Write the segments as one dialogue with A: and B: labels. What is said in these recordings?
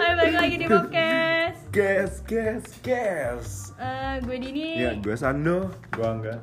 A: Hai balik lagi di podcast.
B: Gas, gas, gas.
A: Eh, gue Dini.
B: Ya, gue Sando.
C: Gua enggak.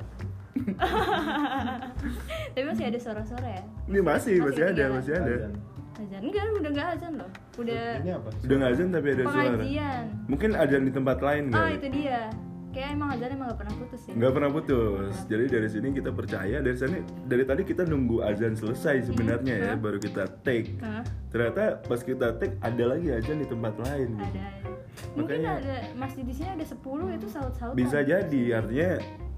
A: Tapi masih ada suara-suara ya.
B: Ini
A: Masih
B: masih, masih ada,
A: kedengeran.
B: masih Iya, ada.
C: Azan.
A: Azan enggak, udah enggak azan loh. Udah
C: Ini apa?
B: Udah nggak azan tapi ada suara.
A: pengajian.
B: Mungkin azan di tempat lain
A: Oh,
B: kali.
A: itu dia. Kayak emang azan emang gak pernah putus ya.
B: Nggak pernah putus. Jadi dari sini kita percaya dari sini dari tadi kita nunggu azan selesai sebenarnya ya
A: Hmm.
B: baru kita take.
A: Hah?
B: Ternyata pas kita take ada lagi azan di tempat lain. gitu.
A: Ada. Oh, Mungkin
B: Makanya-
A: ada masjid di sini ada 10 itu saut-sautan.
B: Bisa jadi artinya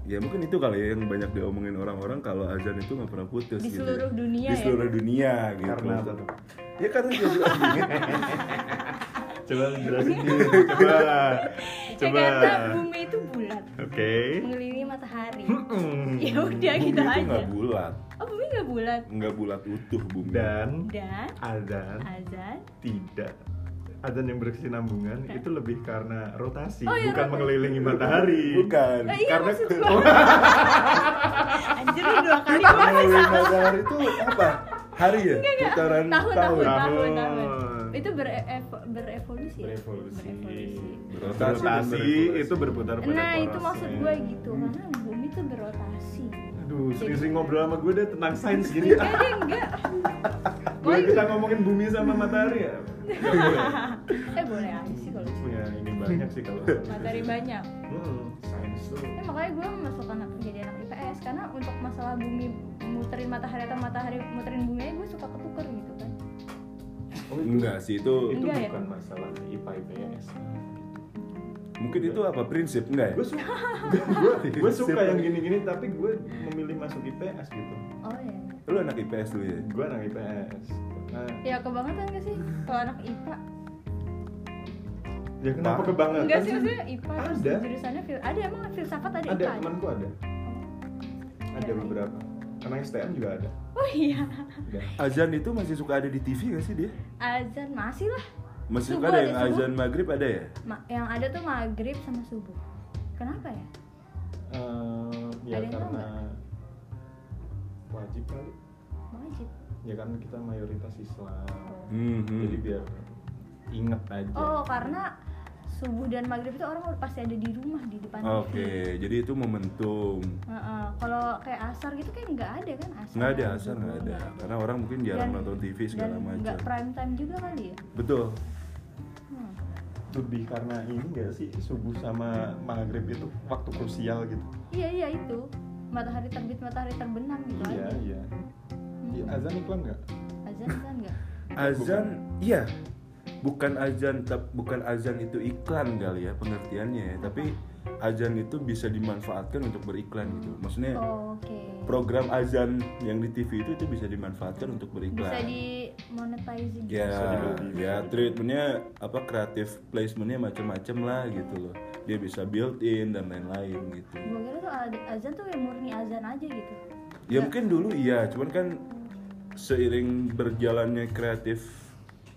B: ya mungkin itu kali ya yang banyak diomongin orang-orang kalau azan itu nggak pernah putus
A: Di
B: gitu.
A: seluruh dunia
B: Di
A: ya?
B: seluruh dunia gitu.
C: Karena apa tuh?
B: Ya karena dia juga
C: Coba jelasin dulu. Coba. Coba.
A: Eh, Jakarta bumi itu bulat
C: Oke.
A: mengelilingi matahari.
C: Mm-mm.
A: ya udah
B: bumi
A: gitu
B: itu
A: aja.
B: nggak bulat.
A: Oh, bumi nggak bulat.
B: nggak bulat utuh bumi
C: Dan
A: Dan
C: azan
A: azan
C: tidak azan yang berkesinambungan itu lebih karena rotasi,
A: Oh, iya,
C: bukan
A: rotasi.
C: mengelilingi matahari.
B: bukan Oh,
A: Eh, iya
C: Karena-
A: maksud gua. Anjir lu dua kali gua
B: mengelilingi matahari itu apa hari ya putaran
A: tahun tahun tahun
C: Tahun.
A: tahun itu berevo- berevolusi ya?
C: Berevolusi.
B: Berotasi dan
C: Berotasi
B: berregulasi.
C: itu berputar-putar.
A: nah itu
C: porosnya.
A: maksud gue gitu karena bumi tuh berotasi
C: Aduh, sering-sering ngobrol sama gue deh tentang sains gini.
A: enggak deh enggak
C: Boleh kita
A: iya.
C: ngomongin bumi sama matahari ya? Nggak boleh.
A: eh boleh aja sih kalau gitu.
C: ya ini banyak sih kalau
A: materi banyak
C: Hmm, sains tuh.
A: eh, makanya gue masuk anak jadi anak IPS karena untuk masalah bumi muterin matahari atau matahari muterin bumi gue suka ketuker gitu kan
C: Oh, itu-
B: enggak sih itu
C: Itu
A: Enggak ya?
C: bukan masalah IPA IPS.
B: mungkin itu apa prinsip enggak ya
C: Gue suka, gue, gue suka yang gini-gini tapi gue memilih masuk IPS gitu.
A: oh ya
B: lu anak IPS lu ya
C: Gue anak IPS. Nah,
A: ya kebangetan gak sih kalau anak IPA
C: ya kenapa
B: Pak.
C: kebangetan?
A: Enggak kan sih
C: sih?
A: maksudnya IPA terus
C: Ada.
A: jurusannya fil ada emang filsafat ada,
C: Ada
A: IPA.
C: temanku ada, ada beberapa. Karena STM juga ada.
A: Oh iya.
C: Udah.
B: azan itu masih suka ada di TV nggak sih dia
A: Azan masih lah.
B: masih
A: Subuh
B: suka ada
A: ada
B: yang
A: subuh.
B: azan maghrib ada ya
A: Ma- yang ada tuh maghrib sama subuh. Kenapa ya?
C: Eh, ya
A: Ada yang tahu
C: karena wajib kali.
A: Wajib.
C: Ya karena kita mayoritas Islam.
B: hmm, hmm.
C: Jadi biar inget aja.
A: Oh karena subuh dan maghrib itu orang udah pasti ada di rumah di depan.
B: oke
A: TV.
B: jadi itu momentum
A: Heeh. Kalau kayak asar gitu kayak nggak ada kan asar.
B: nggak ada azan nggak ada
A: Nggak
B: karena orang mungkin jarang nonton TV segala
A: dan
B: macam
A: Nggak prime time juga kali ya.
B: betul
A: Hmm.
C: lebih karena ini gak sih subuh sama maghrib itu waktu krusial gitu
A: Iya iya itu matahari terbit matahari terbenam gitu
C: iya
A: aja.
C: iya
A: Hmm.
C: Iya, azan iklan nggak
A: Azan azan nggak?
B: Azan, iya. Bukan azan, tap- bukan azan itu iklan kali ya pengertiannya ya. Tapi azan itu bisa dimanfaatkan untuk beriklan gitu. Maksudnya
A: Oh, Oke.
B: program azan yang di TV itu itu bisa dimanfaatkan untuk
A: bisa
B: beriklan.
A: di monetizing
B: Ya,
C: Bisa di-
B: ya treatmentnya apa kreatif placementnya macam-macam lah gitu loh. Dia bisa built in dan lain-lain gitu.
A: gue kira tuh ada- azan tuh yang murni azan aja gitu
B: Ya mungkin dulu iya, cuman kan seiring berjalannya kreatif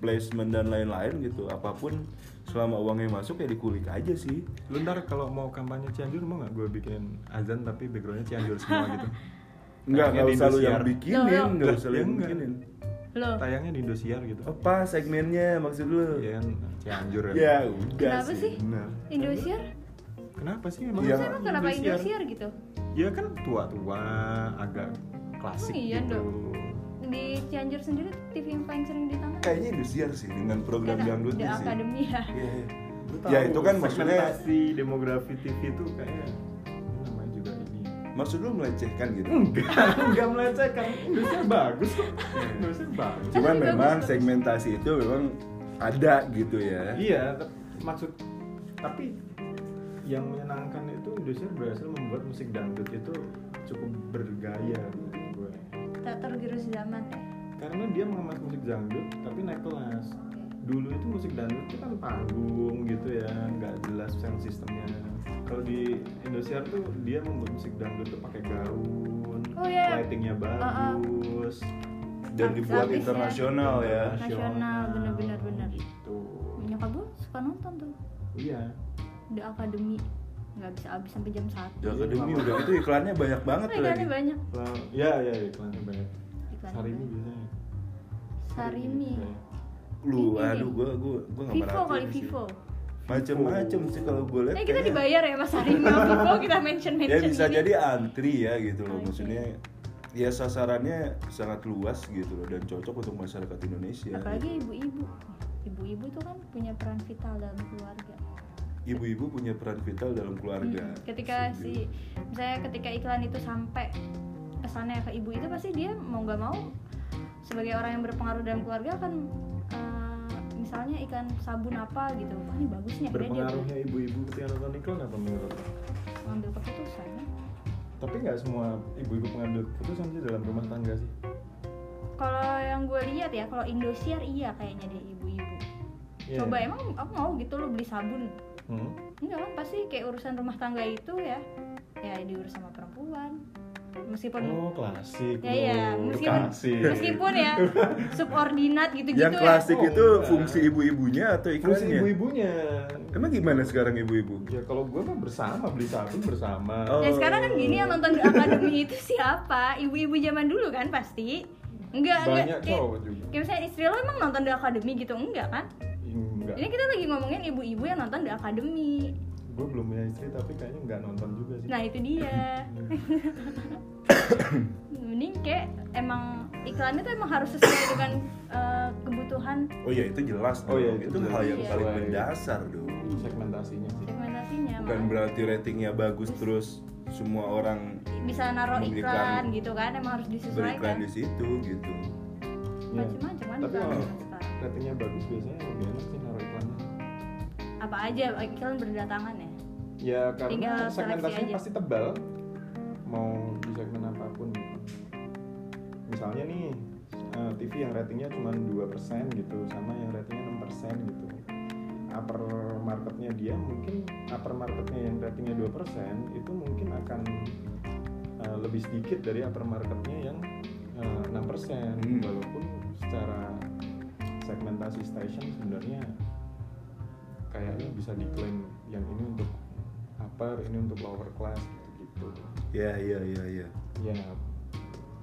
B: placement dan lain-lain gitu, apapun selama uangnya masuk ya dikulik aja sih.
C: lu ntar kalau mau kampanye Cianjur mau nggak gue bikin azan tapi backgroundnya Cianjur semua gitu
B: Enggak, enggak
C: Tayangnya di
B: usah lu
C: Indosiar.
B: yang
A: Loh,
B: bikinin,
A: loh.
B: enggak usah lu
C: Ya,
B: yang
C: enggak.
B: bikinin.
A: loh
C: tayangnya di Indosiar gitu
B: Iya, Apa segmennya maksud lu?
C: Iya kan Cianjur kan
B: Ya udah
A: Kenapa sih?
B: sih.
C: benar
A: Indosiar
C: kenapa sih emang
B: Iya.
A: Terus emang kenapa Iya. Indosiar gitu
C: ya kan tua-tua agak klasik
A: Oh, iya
C: gitu
A: dong. di Cianjur sendiri TV yang paling sering ditonton
B: Kayaknya Indosiar sih dengan program
A: Karena The
B: dangdutnya sih.
A: Academy ya
B: Iya, iya.
C: Lu
B: Ya
C: tahu,
B: itu kan maksudnya
C: segmentasi demografi TV itu kayaknya ini namanya juga ini
B: maksud lu melecehkan gitu.
C: enggak enggak melecehkan Indonesia bagus kok Indonesia bagus
B: Cuman
A: Tapi
B: memang
A: bagus, bagus.
B: segmentasi itu memang ada gitu ya.
C: iya t- maksud tapi yang menyenangkan itu Indonesia berhasil membuat musik dangdut itu cukup bergaya menurut gue
A: tak tergerus zaman ya
C: karena dia mengemas musik dangdut tapi naik kelas dulu itu musik dangdut itu kan panggung gitu ya nggak jelas sound sistemnya kalau di Indonesia tuh dia membuat musik dangdut tuh pakai gaun
A: Oh, iya.
C: lightingnya
A: Uh-uh.
C: bagus
B: Dan dibuat
A: Habis-habisnya.
B: internasional ya.
A: Nasional, bener-bener, bener.
C: gitu
A: nyokap gue suka nonton tuh
C: iya
A: The Academy nggak bisa habis sampai jam satu
B: Iya, The Academy udah itu gitu, iklannya banyak banget
A: Tapi
B: lagi.
A: iklannya banyak
C: Lah, ya ya iklannya banyak
A: Iklan iklan
C: Sarimi
A: juga.
C: biasanya. Iya.
A: Sarimi.
B: lu
A: Ini
B: aduh
A: nih.
B: gua gua Iya. gua nggak
A: Vivo kali
B: merhatiin sih
A: Vivo.
B: macem-macem sih kalau gua lihat
A: Eh kita
B: kayaknya-
A: dibayar ya Mas Sarimi sama Vivo kita mention
B: ya
A: mention.
B: bisa jadi antri ya gitu loh
A: Oke.
B: maksudnya ya sasarannya sangat luas gitu loh dan cocok untuk masyarakat Indonesia gitu.
A: Apalagi ibu-ibu. Ibu-ibu tuh kan punya peran vital dalam keluarga.
B: ibu-ibu punya peran vital dalam keluarga Gitu.
A: Hmm, ketika si
B: Setuju.
A: misalnya ketika iklan itu sampai pesannya ke ibu itu pasti dia mau nggak mau sebagai orang yang berpengaruh dalam keluarga akan eh, misalnya iklan sabun apa gitu wah ini bagus nih akhirnya dia
C: Berpengaruhnya ibu-ibu ketika nonton iklan apa menurut lo?
A: ngambil keputusan
C: Tapi nggak semua ibu-ibu pengambil keputusan sih dalam rumah tangga sih.
A: kalau yang gue lihat ya kalau Indosiar iya kayaknya deh ibu-ibu
C: Iya.
A: coba emang aku mau gitu lo beli sabun
C: Hmm?
A: enggak kan pasti kayak urusan rumah tangga itu ya ya diurus sama perempuan meskipun
C: Oh iya, klasik.
A: Ya, ya.
C: dong.
A: Meskipun-
C: Klasik.
A: meskipun ya subordinat gitu-gitu ya.
B: yang klasik
C: Oh,
B: itu
C: enggak.
B: fungsi ibu-ibunya atau
C: Fungsi
B: iklannya
C: ibu-ibunya.
B: emang gimana sekarang ibu-ibu
C: Ya kalau gue mah bersama beli sabun bersama.
A: ya.
B: Oh.
A: Ya sekarang kan gini yang nonton akademi itu siapa? Ibu-ibu zaman dulu kan pasti. Enggak,
C: Banyak
A: enggak. Kayak,
C: cowok juga.
A: kayak misalnya istri lo emang nonton The Academy gitu enggak kan?
C: Enggak.
A: Ini kita lagi ngomongin ibu-ibu yang nonton The Academy.
C: Gue belum punya istri tapi kayaknya nggak nonton juga sih.
A: Nah, itu dia. Mending kayak emang iklannya tuh emang harus sesuai dengan eh, kebutuhan
B: oh ya itu jelas
C: Oh, iya,
B: dong. itu,
C: itu
B: hal
A: jelas.
B: yang
A: Iya.
B: paling mendasar dong
C: Segmentasinya sih.
A: segmentasinya.
B: bukan
A: makanya.
B: berarti ratingnya bagus terus semua orang
A: bisa naruh
B: memberikan-
A: iklan gitu kan emang harus disesuaikan.
B: beriklan di situ gitu
C: Iya.
A: Macam-macam kan
C: Tapi
A: iklan
C: kalau
A: sekarang.
C: ratingnya bagus biasanya lebih enak sih naruh iklannya.
A: Apa aja iklan berdatangan ya?
C: Ya karena
A: Tinggal seleksi
C: segmentasinya
A: aja.
C: pasti tebal. Mau di segmen apapun. gitu. Misalnya nih eh, TV yang ratingnya cuma 2% gitu sama yang ratingnya 6% gitu. Upper marketnya dia mungkin upper marketnya yang ratingnya 2% itu mungkin akan eh, lebih sedikit dari upper marketnya yang eh, 6%
B: Hmm.
C: walaupun secara segmentasi station sebenarnya kayaknya bisa diklaim yang ini untuk upper ini untuk lower class gitu gitu
B: ya ya ya ya
C: ya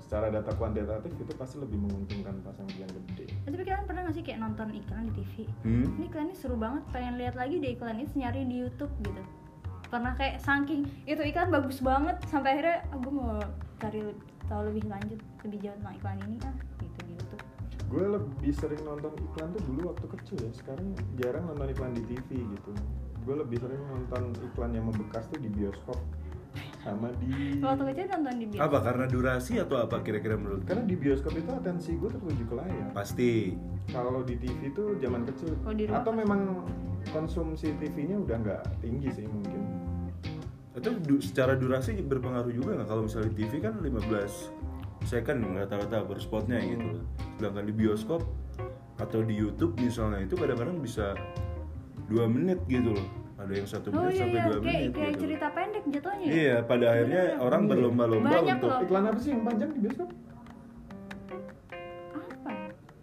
C: secara data kuantitatif itu pasti lebih menguntungkan pasangan yang gede
A: Eh, Tapi kalian pernah gak sih kayak nonton iklan di TV?
B: hmm?
A: Ini iklannya seru banget, pengen lihat lagi deh iklan itu nyari di YouTube gitu. Pernah kayak saking itu iklan bagus banget sampai akhirnya aku mau cari le- tahu lebih lanjut, lebih jauh tentang iklan ini ah gitu di YouTube.
C: gue lebih sering nonton iklan tuh dulu waktu kecil ya sekarang jarang nonton iklan di TV gitu gue lebih sering nonton iklan yang membekas tuh di bioskop sama di
A: Waktu kecil nonton di Oh, bioskop.
B: Hmm. apa karena durasi atau apa kira-kira menurut
C: karena di bioskop itu atensi gue tertuju ke layar
B: pasti
C: kalau di TV tuh zaman kecil
A: Oh, di rumah
C: atau
A: kecil.
C: memang konsumsi TV-nya udah nggak tinggi sih mungkin
B: Itu du- secara durasi berpengaruh juga nggak kalau misalnya di TV kan 15 second rata-rata per spotnya gitu
A: Hmm.
B: loh. Sedangkan di bioskop atau di YouTube misalnya itu kadang-kadang bisa dua menit gitu loh. Ada yang satu
A: Oh
B: menit
A: iya
B: sampai
A: iya,
B: dua
A: kayak,
B: menit
A: kayak
B: gitu.
A: cerita pendek jatuhnya. ya?
B: Iya, pada akhirnya
A: Bener-bener.
B: orang
C: Iya.
B: berlomba-lomba
A: Banyak
B: untuk
A: loh.
C: iklan apa sih yang panjang di bioskop
A: Apa? Iya,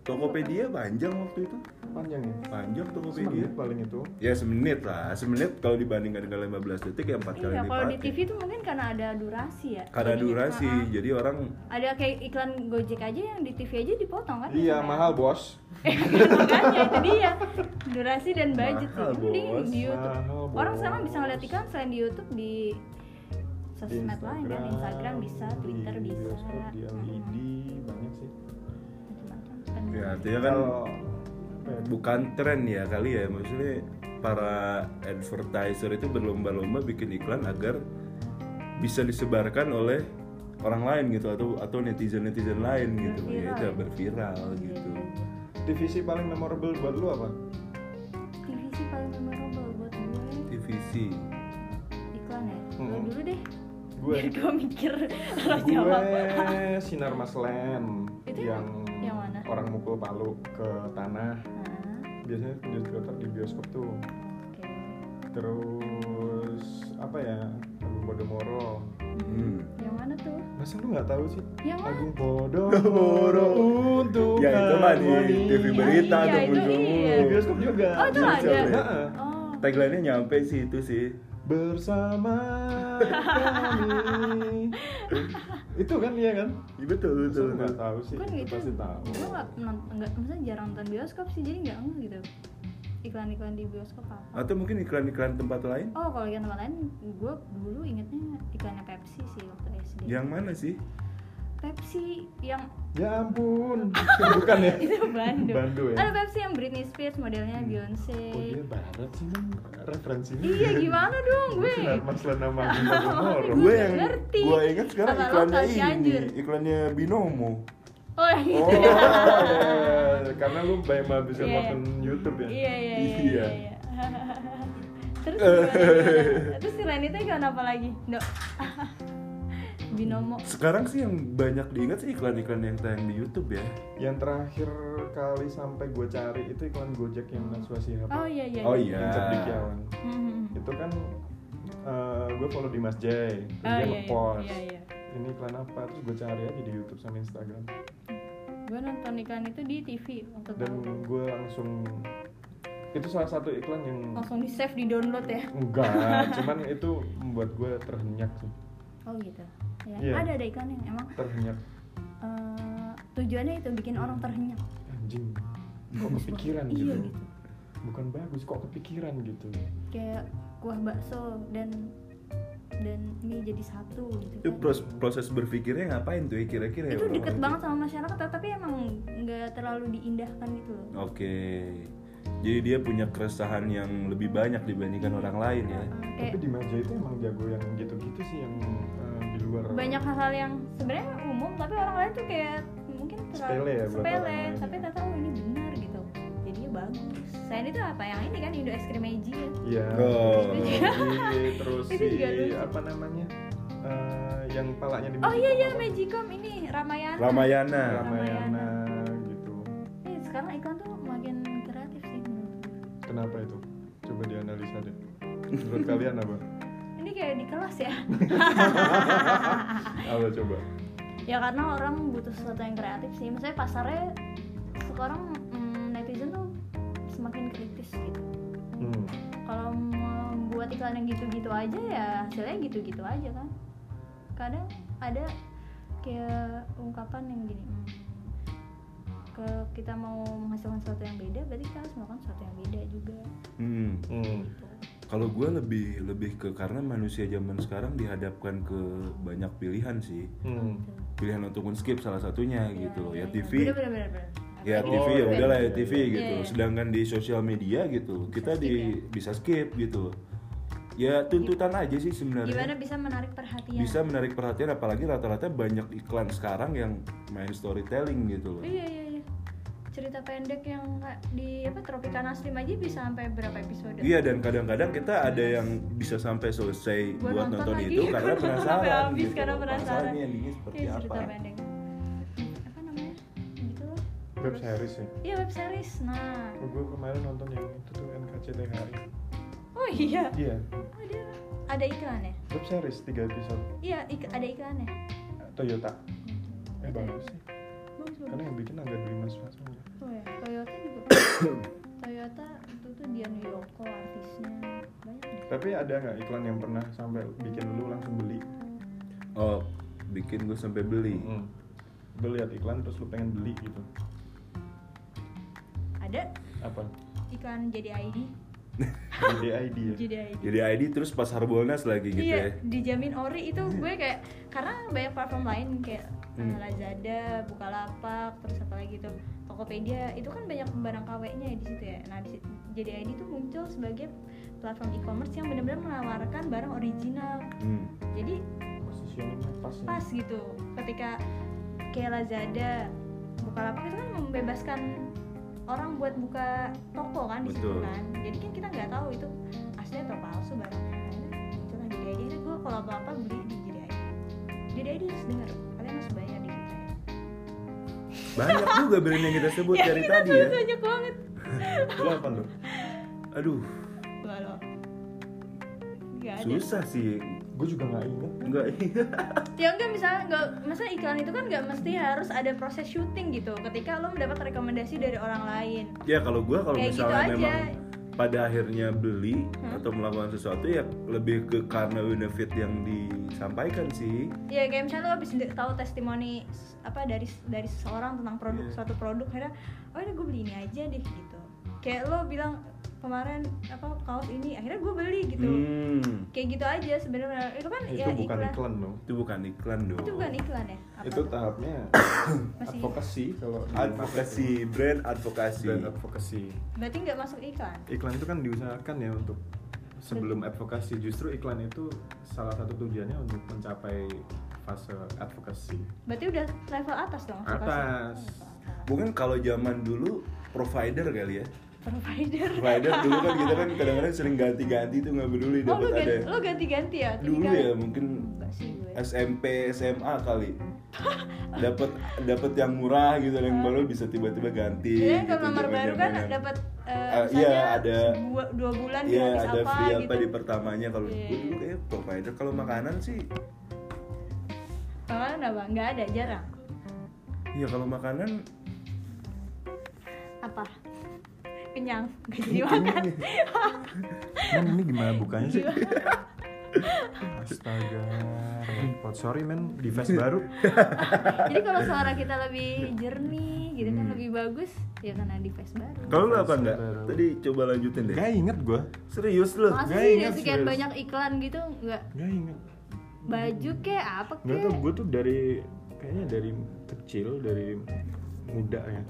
B: Tokopedia panjang waktu itu.
C: panjang ya
B: Panjang Tokopedia.
C: semenit paling itu
B: Ya semenit lah, semenit kalau dibandingkan dengan 15 detik ya empat kali
A: Iya, kalau di
B: lipat.
A: TV tuh mungkin karena ada durasi ya.
B: Karena
A: Jadi,
B: durasi,
A: ah, ah.
B: jadi orang
A: ada kayak iklan Gojek aja yang di TV aja dipotong kan?
C: iya
A: biasanya.
C: mahal bos
A: makanya itu dia durasi dan budget
B: Mahal,
A: itu mending
B: bos.
A: di YouTube
C: Mahal,
A: orang
C: bos.
A: sekarang bisa ngeliat iklan selain di YouTube di sosmed lain kan Instagram bisa
C: Iya, di
A: Twitter bisa
C: bioskop, di E LED banyak sih
A: Macam-macam.
B: ya artinya kan
C: Kalau- apa ya,
B: bukan tren ya kali ya maksudnya para advertiser itu berlomba-lomba bikin iklan agar bisa disebarkan oleh orang lain gitu atau atau netizen netizen lain gitu
A: Iya,
B: ya itu berviral gitu
C: divisi paling memorable buat lu apa
A: TV sih paling memorable buat gue
B: TVC
A: iklan ya
C: Hmm.
A: Lo dulu deh
C: Gue. Nah,
A: biar gue mikir lo jawab
C: gue sinar mas lem
A: Itu
C: yang,
A: yang mana?
C: orang mukul palu ke tanah
A: Nah,
C: biasanya diputar di bioskop tuh
A: oke.
C: terus apa ya Agung Podomoro
B: hmm.
A: yang mana tuh
C: masa lu nggak tahu sih
A: yang mana
C: Agung Podomoro untuk
B: ya itu mah di
C: harmoni.
B: TV berita
A: Iya,
B: tuh
A: itu iya.
C: di bioskop juga
A: Oh, itu
B: ada?
C: Heeh.
A: oh
B: tagline nya nyampe sih itu sih
C: bersama kami itu itu kan iya kan
B: Iya, betul betul.
C: Masa
B: betul.
C: nggak tahu sih
A: kan
C: lu
A: gitu
C: pasti tahu
A: gue nggak nonton nggak maksudnya jarang nonton bioskop sih jadi nggak ngeh gitu iklan-iklan di bioskop apa
B: Atau mungkin iklan-iklan tempat lain?
A: oh kalau yang tempat lain gue dulu ingetnya iklannya Pepsi sih waktu SD
B: Yang mana sih?
A: Pepsi yang
C: ya ampun bukan ya
A: itu Bandung.
C: Bandung ya?
A: Ada Pepsi yang Britney Spears modelnya Beyonce.
C: kok Oh, dia barat sih Bang? referensinya
A: Iya gimana dong gue?
C: mas nama Bintang
A: Gue
B: Gue
A: nggak
B: yang
A: ngerti.
B: gue ingat sekarang
A: Kagak
B: iklannya
A: lokal,
B: ini,
A: Cianjur.
B: iklannya binomo.
A: Oh, iya.
C: Oh, iya, iya. karena lu banyak menghabiskan
A: Ah. Iya.
C: waktu YouTube ya.
A: Iya iya iya.
B: Iya.
A: iya, iya. Terus gimana? terus selain itu iklan apa lagi? No. Binomo.
B: Sekarang sih yang banyak diingat sih iklan-iklan yang tayang di YouTube ya.
C: Yang terakhir kali sampai gue cari itu iklan Gojek yang Naswa Sihab.
A: Oh iya iya.
B: Oh,
A: iya.
B: iya.
C: Yang Cerdik Yawan.
A: Mhm.
C: Itu kan eh, gue follow di Mas Jai, terus
A: Oh,
C: dia
A: iya,
C: ngepost.
A: iya, iya.
C: Ini iklan apa? Terus gue cari aja di YouTube sama Instagram.
A: Gue nonton iklan itu di TV waktu
C: Dan
A: itu.
C: gue langsung itu salah satu iklan yang
A: Langsung di save di download ya.
C: enggak, cuman itu membuat gue terhenyak sih,
A: Oh gitu. Ya.
C: Iya.
A: Ada ada iklan yang emang
C: terhenyak
A: eh, tujuannya itu bikin orang terhenyak.
C: anjing. Kok kepikiran
A: Iya
C: gitu?
A: gitu.
C: Bukan bagus, kok kepikiran gitu?
A: Kayak kuah bakso dan dan mie jadi satu gitu.
B: Itu
A: kan.
B: pros- proses berpikirnya ngapain tuh ya kira-kira ya
A: itu
B: orang-orang
A: deket
B: itu?
A: banget sama masyarakat tapi emang nggak terlalu diindahkan gitu loh
B: Oke. Jadi dia punya keresahan yang lebih banyak dibandingkan orang lain ya.
A: Eh, kayak
C: Tapi di Mas Jai itu emang jago yang gitu-gitu sih yang eh, di luar.
A: banyak hal-hal yang sebenarnya umum tapi orang lain tuh kayak mungkin terlalu
C: Sepele ya buat
A: sepele,
C: orang lain.
A: tapi ternyata oh ini benar gitu jadinya bagus selain itu apa yang ini kan Indo Ice Cream Magic
C: Iya.
B: Oh.
C: Di- Iya, terus
A: Itu
C: si
A: juga lucu.
C: apa namanya? eh, yang palanya di Nah,
A: oh iya iya Magicom ini Ramayana
B: Ramayana.
C: Ramayana gitu.
A: eh, sekarang iklan tuh makin kreatif sih menurut gue.
C: Kenapa itu? Coba dianalisa deh. Menurut kalian apa?
A: ini kayak di kelas ya
C: Apa coba?
A: ya karena orang butuh sesuatu yang kreatif sih misalnya pasarnya sekarang mm, netizen tuh semakin kritis gitu
C: Hmm.
A: kalau membuat iklan yang gitu-gitu aja ya hasilnya gitu-gitu aja kan kadang ada kayak ungkapan yang gini hmm, ke kita mau menghasilkan sesuatu yang beda berarti kita harus melakukan sesuatu yang beda juga
B: Hmm.
C: Hmm.
A: gitu
B: Kalau gue lebih lebih ke karena manusia zaman sekarang dihadapkan ke banyak pilihan sih.
C: Hmm.
A: gitu.
B: Pilihan untuk skip salah satunya gitu loh. Ya
A: Iya,
B: TV,
A: bener, bener, bener, bener.
B: ya
A: Apa?
B: TV ya
C: Oh,
B: udahlah ya
C: iya,
B: TV
C: iya.
B: gitu.
A: Iya, iya.
B: Sedangkan di sosial media gitu
A: skip
B: kita
A: ya?
B: di bisa skip gitu. Ya tuntutan aja sih
A: Iya. gimana Iya.
B: sebenarnya.
A: bisa menarik perhatian
B: ya. Bisa menarik perhatian apalagi rata-rata banyak iklan sekarang yang main storytelling gitu loh.
A: iya iya iya cerita pendek yang kayak di apa Tropicana Slim aja bisa sampai berapa episode
B: Iya dan kadang-kadang kita ada yang bisa sampai selesai
A: Buat
B: buat,
A: nonton
B: nonton,
A: lagi.
B: itu karena
A: Nonton sampai
B: penasaran
A: habis
B: gitu.
A: karena penasaran.
B: Penasaran nih endingnya seperti
A: Iya,
B: apa.
A: cerita pendek apa namanya gitu loh.
C: Web
A: Terus-
C: series ya.
A: iya web series nah
C: Gue Oh, kemarin nonton yang itu tuh NKCTHI.
A: oh iya
C: Iya.
A: ada ada iklannya
C: Web series 3 episode
A: iya ik- ada iklannya
C: Toyota. Eh
A: Ada.
C: bagus sih.
A: bagus bagus
C: Karena yang bikin agak Dwi Mas Fasma.
A: oh, ya. Toyota juga Toyota itu tuh Dian Yoko artisnya banyak deh
C: Tapi ada nggak iklan yang pernah sampai bikin lu langsung beli?
B: Oh, bikin gue sampai beli.
C: Hmm. Lu lihat iklan terus lu pengen beli gitu.
A: ada
C: Apa?
A: iklan jadi ID
C: ID ya.
A: jadi ID
B: Jadi ID terus pas Harbolnas lagi gitu
A: iya,
B: ya.
A: dijamin ori itu gue kayak karena banyak platform lain kayak eh,
B: Hmm.
A: Lazada, Bukalapak, terus apa lagi tuh Tokopedia itu kan banyak barang KW-nya ya di situ ya. Nah, di situ- jadi ID itu muncul sebagai platform e-commerce yang benar-benar menawarkan barang original.
B: Hmm.
A: Jadi
C: Positioningnya pas. ya.
A: pas gitu. Ketika kayak Lazada, Bukalapak itu kan membebaskan orang buat buka toko kan di situ
B: Betul.
A: kan. Jadi kan kita nggak tahu itu asli atau palsu barangnya. Itu lah jadi ID. Ini gue kalau apa-apa beli di jadi ID. Jadi ID harus dengar. Kalian harus bayar di situ.
B: Banyak juga brand yang kita sebut
A: Iya,
B: dari
A: kita
B: tadi
A: sebut
B: ya.
A: banyak banget.
C: Lu apa lu?
B: Aduh,
A: Kalau nggak ada. Hmm.
B: susah sih.
C: Gue juga nggak inget.
B: Enggak iya.
A: Ya enggak misalnya enggak masa iklan itu kan nggak mesti harus ada proses syuting gitu. Ketika lo mendapat rekomendasi dari orang lain.
B: Ya kalau gue kalau
A: Kayak gitu
B: misalnya
A: aja. Hmm.
B: memang pada akhirnya beli atau melakukan sesuatu ya lebih ke karena benefit yang disampaikan sih
A: ya kayak misalnya lo habis de- tahu testimoni s- apa dari dari seseorang tentang produk
C: Iya.
A: suatu produk akhirnya oh ini gue beli ini aja deh gitu kayak lo bilang kemarin apa kaos ini akhirnya gue beli gitu
B: Hmm,
A: kayak gitu aja sebenarnya itu kan
C: itu
A: ya
C: bukan
A: iklan.
C: iklan dong
B: itu bukan iklan dong
A: itu bukan iklan ya Apa
C: itu
A: tuh?
C: tahapnya
A: Masih-
C: advokasi kalau di
B: advokasi brand advokasi
C: marketing. dan advokasi
A: berarti nggak masuk iklan
C: iklan itu kan diusahakan ya untuk sebelum advokasi justru iklan itu salah satu tujuannya untuk mencapai fase advokasi
A: berarti udah level atas dong advokasi.
C: Atas.
A: Level
B: mungkin kalau zaman dulu provider kali ya
A: atas. provider
B: provider dulu kan kita kan kadang-kadang sering ganti-ganti tuh nggak peduli
A: oh lu
B: dapat ada
A: ganti, lu ganti-ganti ya
B: dulu
A: Tiga-
B: ya mungkin
A: Enggak sih gue
B: SMP SMA kali dapat dapat yang murah gitu yang baru bisa tiba-tiba ganti
A: Ah. Iya,
B: gitu,
A: kalau nomor baru kan
B: zaman-zamanan.
A: dapat eh,
B: Ah,
A: misalnya
B: iya, ada-
A: dua, dua bulan
B: Iya
A: gratis
B: ada
A: apa,
B: free
A: gitu.
B: apa di pertamanya kalau
A: Iya.
B: gue dulu kayak provider kalau makanan sih
A: Makanan apa? Nggak ada, jarang.
B: ya kalau makanan
A: Apa? Kenyang, nggak jadi makan.
C: Men, ini gimana bukanya
B: Iya.
C: sih? Astaga, repot. Sorry men, di face baru.
A: jadi kalau suara kita lebih jernih, gitu kan lebih bagus, ya karena di face baru.
B: kalau lu apa enggak
C: Baru.
B: tadi coba lanjutin deh
C: Gak inget gue,
B: serius lu
A: Masa
C: nggak
A: sih dari
C: ingat,
A: sekian
C: serius.
A: banyak iklan gitu nggak
C: gak inget.
A: baju kek apa
C: Gak
A: kek?
C: tau, gue tuh dari kayaknya dari kecil, dari muda ya.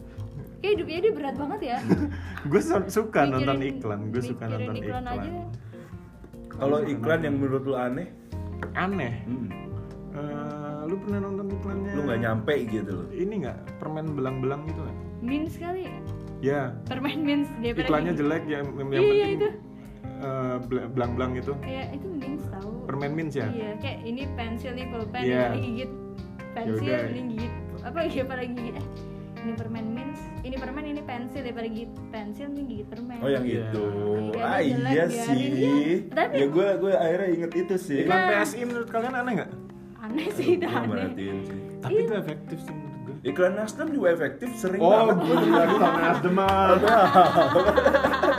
A: Kayak hidupnya dia berat banget ya.
C: Gue suka nonton
A: Mikirin-
C: iklan, gue suka
A: mikirin
C: nonton iklan.
A: aja.
B: kalau iklan yang menurut lu aneh
C: Aneh.
B: hmm,
C: Eh, lu pernah nonton iklannya?
B: lu
A: Hmm.
B: nggak nyampe gitu loh
C: Ini nggak permen belang-belang gitu nggak?
A: Mints kali.
C: Ya,
A: Permen mints dia pernah
C: iklannya
A: bikin.
C: jelek yang yang
A: Iya, iya,
C: penting
A: itu.
C: eh, bel- belang-belang itu.
A: Iya, itu mints tahu.
C: Permen mints ya?
A: Iya, kayak ini pensil nih pulpen
C: Iya.
A: ini gigit pensil,
C: Yaudah.
A: ini gigit apa lagi apa lagi gigit eh ini permen mints, ini permen ini pensil daripada gigit pensil ini gigit permen.
B: Oh yang
C: Iya.
B: itu.
A: Iya,
B: Ah
A: dia jelek,
B: iya
A: biarin.
B: sih.
A: Iya, tapi-
B: Ya gue gue akhirnya inget itu sih.
C: Iklan
A: Nah.
C: PSI menurut kalian aneh nggak?
A: Aneh sih itu
B: Gua
A: aneh.
B: merhatiin sih.
C: Tapi
A: Iya.
C: itu efektif sih menurut gue.
B: Iklan Nasdem juga efektif sering
C: Oh,
B: banget.
C: gue lagi sama Nasdem Mal.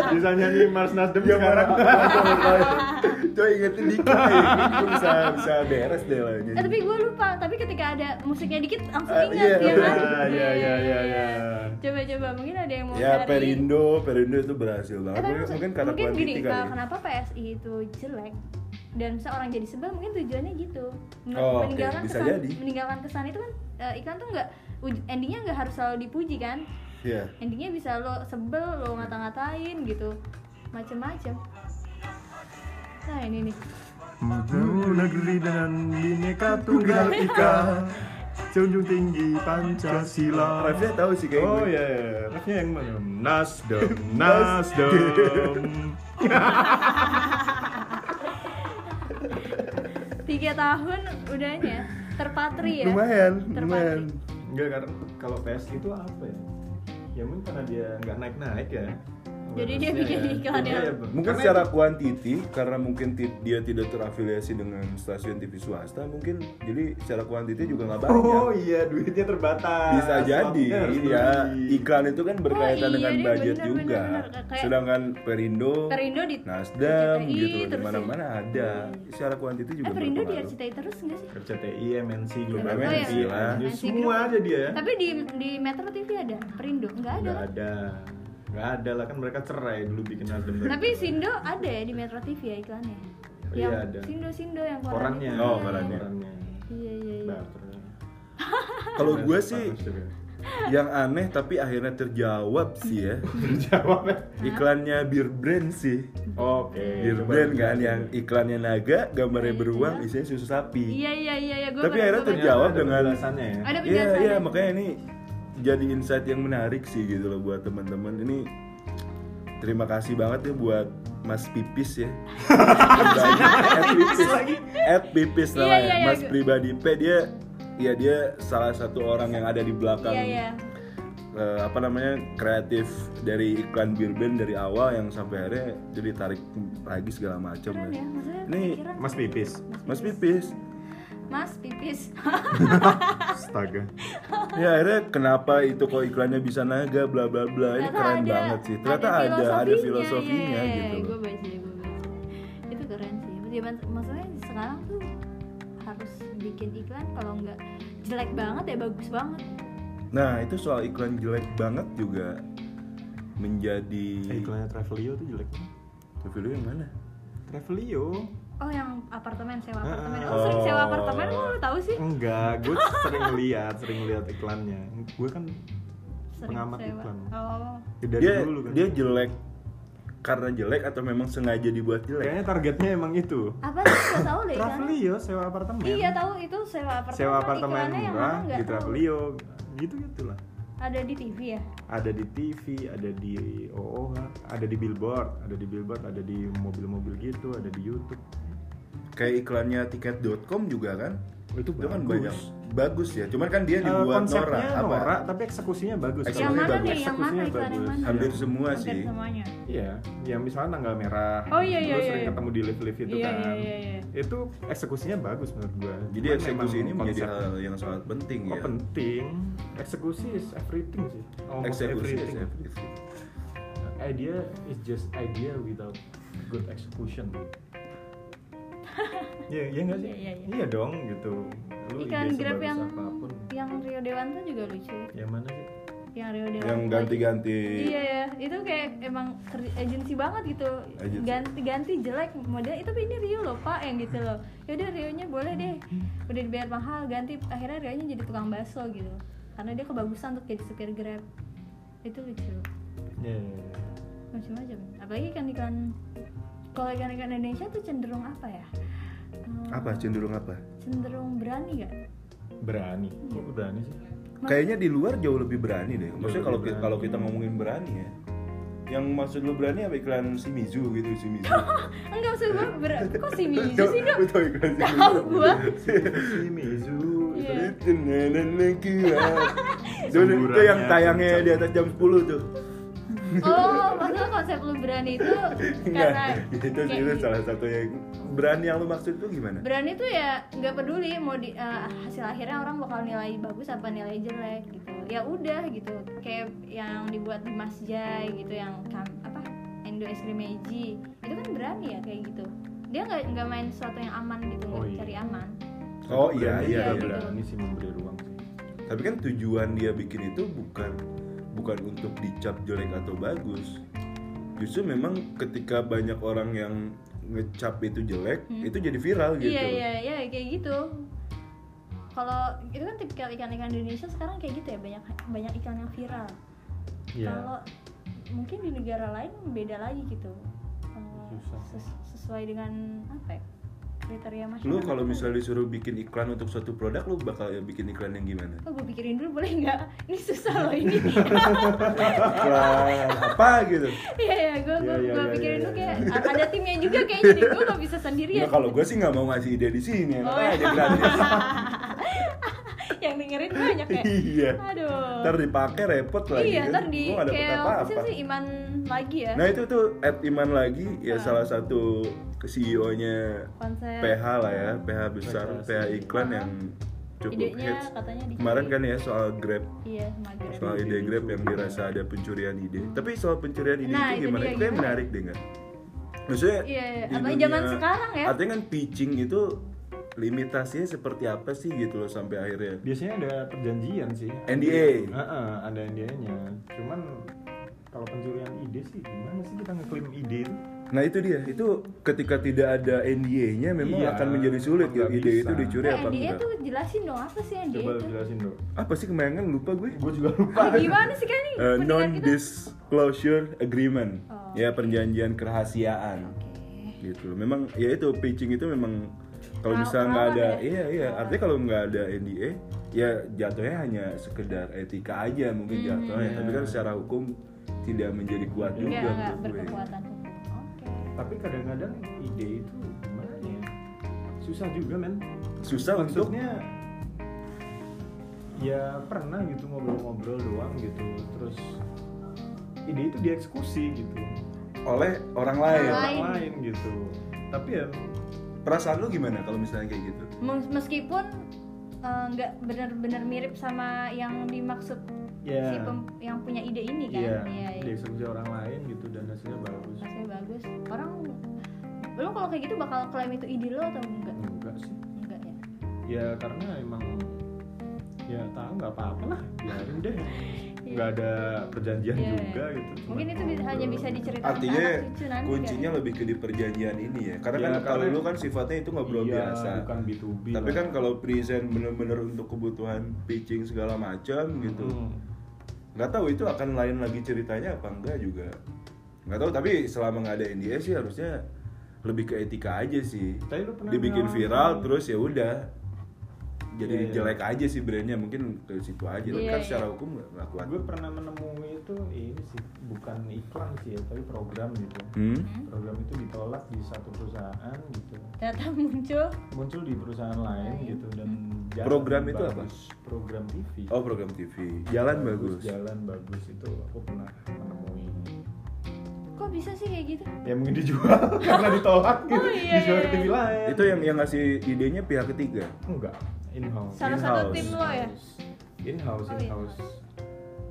C: Bisa nyanyi Mars Nasdem
B: Ya marah
C: sekarang.
B: Coba ingetin dikit aja. Gue bisa bisa beres deh lah. Ya,
A: Eh, tapi gue lupa, tapi ketika ada musiknya dikit langsung
B: Ah,
A: ingat
B: iya,
A: ya kan?
C: iya, iya, iya, iya.
A: Coba coba mungkin ada yang mau
B: Ya
A: cari.
B: Perindo, Perindo itu berhasil
A: Eh,
B: banget.
A: tapi
B: Mungkin,
A: maksud-
B: mungkin karena
A: mungkin gini,
B: kuantiti kali.
A: kalau kenapa PSI itu jelek dan misalnya orang jadi sebel mungkin tujuannya gitu Men-
B: Oh, oke.
A: meninggalkan
B: Bisa
A: kesan
B: jadi.
A: meninggalkan kesan itu kan eh, iklan tuh nggak uj- endingnya nggak harus selalu dipuji kan
B: Iya.
A: endingnya bisa lo sebel lo ngata-ngatain gitu macem-macem nah ini nih
C: Maju negeri dan bineka tunggal ika. Junjung tinggi Pancasila.
B: Raffi tahu sih kayaknya.
C: Oh iya, iya. Refnya yang mana? Nah, Nasdem, Nasdem.
A: tiga tahun udahnya terpatri ya
B: Lumayan,
A: Terpatri.
B: lumayan.
C: Enggak karena kalau PSI itu apa ya? Ya mungkin karena dia nggak naik-naik ya.
A: Jadi dia bikin iklan ya?
C: Iya,
A: yang-
C: iya, Bang.
B: Mungkin
C: Karena
B: secara kuantiti karena mungkin ti- dia tidak terafiliasi dengan stasiun TV swasta, mungkin jadi secara kuantiti juga nggak banyak.
C: Oh iya, duitnya terbatas.
B: bisa jadi
C: Maksudnya harus
B: ya
C: beli.
B: iklan itu kan berkaitan
A: iya,
B: dengan
A: deh,
B: budget
A: bener,
B: juga
A: bener, bener. Kayak-
B: sedangkan perindo,
A: Perindo di
B: nasdem
A: RCTI,
B: gitu di
A: terus
B: mana mana ada
A: Iya.
B: secara kuantiti juga
A: eh Perindo di
B: berpengaruh.
A: RCTI terus nggak sih
C: RCTI, MNC, Global
B: Oh,
C: MNC,
A: ya.
B: iya. MNC
C: Lanjut,
A: Group.
C: semua aja dia ya.
A: tapi di di Metro TV ada Perindo nggak ada kan?
C: Nggak ada. Nggak ada lah kan mereka cerai dulu bikin Nasdem.
A: Tapi Sindo ada ya di Metro TV ya iklannya.
C: Oh,
A: yang
C: iya, ada.
A: Sindo Sindo yang koran
C: korannya.
A: itu.
B: Oh, korannya.
A: Iya iya iya.
C: Baper.
B: kalau gue sih
C: Bagus juga.
B: yang aneh tapi akhirnya terjawab sih ya
C: Jawab ya.
B: iklannya bir brand sih
C: Oke.
B: bir
C: coba
B: brand
C: dijelasin.
B: kan yang iklannya naga gambarnya
A: Iya,
B: beruang
A: iya.
B: isinya susu sapi
A: Iya iya iya iya. Gua
B: Tapi
A: pernah- gua
B: akhirnya
A: pernah-
B: terjawab
C: Ada
B: dengan-
C: penjelasannya ya.
A: Ada
B: Iya
A: penjelasan.
B: iya makanya ini jadi insight yang menarik sih gitu loh buat teman-teman ini terima kasih banget ya buat Mas Pipis ya at Pipis at Pipis
A: Iya,
B: namanya
A: iya, iya.
B: Mas pribadi P dia ya dia salah satu orang yang ada di belakang
A: Iya iya.
B: eh, apa namanya kreatif dari iklan bir brand dari awal yang sampai akhirnya jadi tarik lagi segala macam
A: Keren ya.
B: ya.
A: Maksudnya
B: Ini
A: pikiran.
C: Mas Pipis.
B: Mas Pipis
A: mas pipis
B: Nah,
D: Astaga.
B: ya akhirnya kenapa itu kok iklannya bisa naga bla bla bla ini
A: Oh, Ternyata
B: keren
A: ada-
B: banget sih ternyata ada ada filosofinya
A: yeay.
B: gitu
A: iya, Gua baca gue baca itu keren sih Ya, mak- maksudnya sekarang tuh harus bikin iklan kalau nggak jelek banget ya bagus banget
B: nah itu soal iklan jelek banget juga menjadi
C: Eh, iklannya Travelio tuh jelek
B: Tapi lu yang mana
C: Travelio
A: oh yang apartemen sewa
C: Ah,
A: apartemen oh, sering sewa
B: oh.
A: apartemen kok lu tahu sih
C: enggak gue sering lihat sering lihat iklannya gue kan
A: sering
C: pengamat iklan.
A: oh
C: dari
B: dia
C: dulu kan
B: dia jelek karena jelek atau memang sengaja dibuat jelek
C: kayaknya targetnya emang itu
A: apa sih nggak tahu deh iklannya
C: Travelio sewa apartemen
A: iya tahu itu sewa apartemen
C: sewa
A: tapi
C: apartemen
A: iklannya yang
C: murah
A: mana nggak
C: di
A: tahu.
C: Travelio gitu gitulah
A: ada di TV ya
C: ada di TV, ada di OOH, ada di billboard, ada di billboard, ada di mobil-mobil gitu, ada di YouTube.
B: kayak iklannya tiket.com juga kan
C: Oh, itu
B: kan
C: bagus.
B: banyak bagus ya cuman kan dia
C: Eh,
B: dibuat
C: konsepnya
B: norak apa
C: norak, tapi eksekusinya bagus.
B: Eksekusinya
A: yang mana nih yang
C: Eksekusinya
A: mana iklan yang
C: bagus.
A: mana
B: hampir semua
A: Hampir
B: sih
A: semuanya
C: Iya, yang misalnya tanggal merah.
A: Oh, iya, iya,
C: Lu
A: iya,
C: sering
A: iya.
C: ketemu di lift-lift itu
A: Iya,
C: kan.
A: iya, iya, iya.
C: Itu eksekusinya bagus menurut gua.
B: jadi
C: Cuman
B: eksekusi
C: memang
B: ini menjadi
C: konsep-
B: hal yang sangat penting
C: Oh,
B: ya
C: penting. Eksekusi is everything sih. Almost
B: eksekusi is
C: everything.
B: everything.
C: Idea Eh, is just idea without good execution. Iya, iya nggak sih?
A: Iya, iya, iya.
C: dong gitu. Lu
A: Iklan
C: ide
A: Grab
C: sebagus
A: yang
C: apapun.
A: yang Rio Dewanto juga lucu.
C: Yang mana sih?
A: Yang Rio Dewanto.
B: yang ganti-ganti
A: Iya ya, itu kayak emang kerja agensi banget gitu.
B: Agensi.
A: Ganti-ganti jelek model itu tapi ini Rio loh Pak yang gitu loh. Ya udah Rio-nya boleh deh. Udah dibayar mahal ganti akhirnya Rio-nya jadi tukang bakso gitu. Karena dia kebagusan untuk jadi supir Grab. Itu lucu.
C: Iya, iya, iya.
A: Macam-macam. Apalagi kan ikan kalau ikan-ikan Indonesia tuh cenderung apa ya? Eh,
B: apa cenderung apa
A: Cenderung berani gak?
C: Berani.
A: Iya.
C: Kok berani sih?
B: kayaknya di luar jauh lebih berani deh maksudnya kalau ki-
C: Jauh lebih berani.
B: kalau kita ngomongin berani ya yang maksud lu berani apa iklan Shimizu gitu Shimizu
A: Enggak usah gue ber... Kok si Mizu
B: Tau-
A: sih dok?
B: lu tau iklan
A: Tahu
B: Shimizu
A: gue
C: Si Mizu itu
A: Iya.
B: Itu nenek gua. Itu itu yang tayangnya di atas jam 10 tuh
A: Oh, maksudnya konsep lu berani itu karena
B: Nggak, Iya, itu
A: kayak
B: itu salah satu yang berani yang lu maksud tuh gimana?
A: berani tuh ya nggak peduli mau di, eh, hasil akhirnya orang bakal nilai bagus apa nilai jelek gitu. Ya udah gitu. Kayak yang dibuat di Mas Jai gitu yang kam- apa Endo Es Krim Meiji. Itu kan berani ya kayak gitu. Dia nggak nggak main sesuatu yang aman gitu,
C: Oh,
A: nggak
C: iya.
A: cari aman.
B: Oh iya iya.
C: berani, ya,
A: Iya,
B: iya.
A: gitu.
C: Berani sih memberi ruang sih.
B: Tapi kan tujuan dia bikin itu bukan bukan untuk dicap jelek atau bagus. Justru memang ketika banyak orang yang ngecap itu jelek,
A: Hmm.
B: itu jadi
C: Oh,
B: viral gitu.
A: Iya iya iya kayak gitu. Kalau itu kan tipikal ikan-ikan Indonesia sekarang kayak gitu ya banyak banyak ikan yang viral.
C: Iya.
A: Kalau mungkin di negara lain beda lagi gitu. Eh,
C: Susah.
A: ses- sesuai dengan apa ya? Kriteria masyarakat.
B: Lu kalau misalnya disuruh bikin iklan untuk suatu produk, lu bakal bikin iklan yang gimana?
A: Oh, gue pikirin dulu boleh nggak? Ini susah loh ini.
B: Iklan apa gitu?
A: Iya ya, gue gue
C: Iya, iya, iya,
A: pikirin
C: iya,
A: dulu
C: iya.
A: kayak a- ada timnya juga kayaknya jadi gue nggak bisa sendirian.
B: Nah, kalau gue sih nggak mau ngasih ide di sini, enak
A: Oh, iya.
B: aja gratis.
A: yang dengerin banyak ya.
B: Iya.
A: Aduh.
B: Ntar dipakai repot lagi.
A: iya,
B: kan.
A: ntar di
B: Gua nggak dapet
A: kayak apa
B: apa-apa.
A: sih iman lagi ya.
B: Nah itu tuh Ed Iman lagi ya
A: Ah.
B: salah satu E CEO-nya
A: konsep
B: PH lah ya, PH besar,
C: Mereka
B: PH
C: sih.
B: iklan
A: Ah.
B: yang cukup
A: idenya
B: hits.
A: katanya di
B: Kemarin kan ya soal Grab,
A: iya mager
B: soal ide Grab yang dirasa ada pencurian ide. Tapi soal pencurian ide
A: Nah, itu
B: itu
A: dia,
B: gimana? Itu kayak
A: gimana?
B: menarik deh nggak? Maksudnya
A: Iya, iya.
B: di
A: Apalagi
B: dunia-
A: zaman sekarang ya.
B: Artinya kan pitching itu limitasinya seperti apa sih gitu loh sampai akhirnya
C: Biasanya ada perjanjian sih.
B: NDA.
C: Heeh, ada NDA-nya. Cuman kalau pencurian ide sih gimana sih kita ngeklaim ide itu?
B: Nah itu dia, itu ketika tidak ada NDA-nya memang
C: Iya,
B: akan menjadi sulit ya
C: nggak
B: ide itu
C: bisa.
B: dicuri
A: Nah,
B: apa
A: NDA
B: enggak.
A: tuh jelasin dong apa sih NDA
C: Coba lu
A: itu?
C: jelasin dong.
B: Apa sih kemayangan lupa gue?
C: Gue juga lupa.
A: Ah, Gimana sih kan ini?
B: Eh,
A: pendengar
B: non
A: kita?
B: disclosure agreement.
A: Oh.
B: Ya perjanjian kerahasiaan.
A: Oke.
B: Gitu. Memang ya itu pitching itu memang kalau
A: Raw-
B: misalnya nggak
A: rawan
B: ada
A: ya?
B: iya iya
A: Rawan.
B: artinya kalau nggak ada NDA ya jatuhnya hanya sekedar etika aja mungkin
A: Hmm.
B: jatuhnya tapi kan
C: Iya.
B: secara hukum tidak menjadi kuat
C: Iya,
A: Enggak,
B: juga
A: enggak
B: menurut gue.
A: berkekuatan hukum. Oke.
C: Tapi kadang-kadang ide itu gimana ya? Susah juga men.
B: susah untuk
C: maksudnya ya pernah gitu ngobrol-ngobrol doang gitu terus ide itu dieksekusi gitu
A: Ah.
B: oleh orang lain
A: Orang lain.
C: lain gitu tapi ya
B: perasaan lu gimana kalau misalnya kayak gitu
A: Mes- meskipun eh, nggak benar-benar mirip sama yang dimaksud si
C: ya
A: pem- yang punya ide ini kan
C: iya
A: Iya, iya.
C: dieksekusi orang lain gitu dan hasilnya bagus
A: Hasilnya bagus orang lu kalau kayak gitu bakal klaim itu ide lo atau enggak
C: enggak sih
A: enggak ya
C: ya karena emang ya tahu nggak apa-apa lah biarin deh nggak ada perjanjian
A: Iya.
C: juga gitu Cuma
A: mungkin itu bi- hanya bisa diceritain ke
B: artinya
A: anak cucu nanti
B: kuncinya
A: kan?
B: lebih ke di perjanjian ini ya karena
C: Ya,
B: kan kalau
C: karena-
B: lu kan sifatnya itu ngobrol
C: Iya,
B: biasa
C: bukan B2B
B: tapi
C: lah.
B: kan kalau present bener-bener untuk kebutuhan pitching segala macam gitu
C: Hmm.
B: nggak tahu itu akan lain lagi ceritanya apa enggak juga nggak tahu tapi selama nggak ada NDA sih harusnya lebih ke etika aja sih
C: Tapi lu pernah
B: dibikin
C: ngalamin-
B: viral terus ya udah jadi
C: Iya, iya.
B: jelek aja sih brandnya mungkin ke situ aja Tapi
A: Iya,
B: kan
A: iya.
B: secara hukum nggak nggak kuat
C: gue pernah menemui itu ini sih bukan iklan sih ya tapi program gitu
B: hmm?
A: Hmm?
C: program itu ditolak di satu perusahaan gitu
A: ternyata muncul
C: muncul di perusahaan lain
A: Lain. Hmm.
C: gitu dan jalan
B: Program itu apa?
C: bagus. program TV
B: oh program TV jalan bagus
C: jalan bagus itu aku pernah menemui
A: kok bisa sih kayak gitu
C: ya mungkin dijual karena ditolak gitu
A: Oh, iya,
C: dijual
A: iya,
C: ke TV
A: iya.
C: lain
B: itu yang yang ngasih idenya pihak ketiga
C: enggak in house
A: salah
B: In-house.
A: satu tim lo ya
C: in house
A: Oh,
C: in house
A: in-house.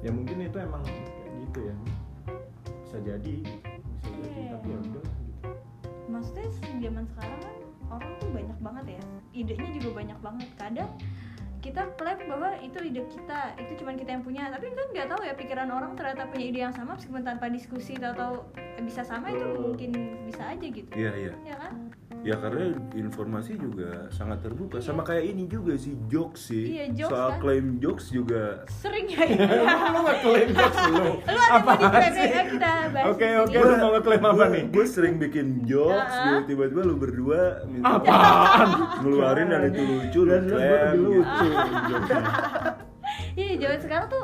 C: ya mungkin itu emang kayak gitu ya bisa jadi bisa jadi
A: Iya.
C: tapi ya udah gitu
A: maksudnya zaman sekarang kan orang tuh banyak banget ya idenya juga banyak banget kadang kita klaim bahwa itu ide kita itu cuman kita yang punya tapi kan nggak tahu ya pikiran orang ternyata punya ide yang sama meskipun tanpa diskusi atau bisa sama itu
C: Betul.
A: mungkin bisa aja gitu
B: iya iya
A: ya kan
B: ya karena informasi juga sangat terbuka sama kayak ini juga sih jokes sih
A: Iya, jokes
B: soal
A: kan.
B: klaim jokes juga
A: sering ya lu
C: nggak klaim jokes lu
A: apa sih gitu, kita bahas
C: Oke,
A: di
C: oke.
A: sini.
C: lu mau ngeklaim apa nih?
B: Gue sering bikin jokes,
A: Ah.
B: lu tiba-tiba lu berdua minta-
C: apaan
B: ngeluarin dan itu lucu, lu
C: dan lu
B: klaim,
C: lebih
B: gitu.
C: lucu jokesnya.
A: iya zaman sekarang tuh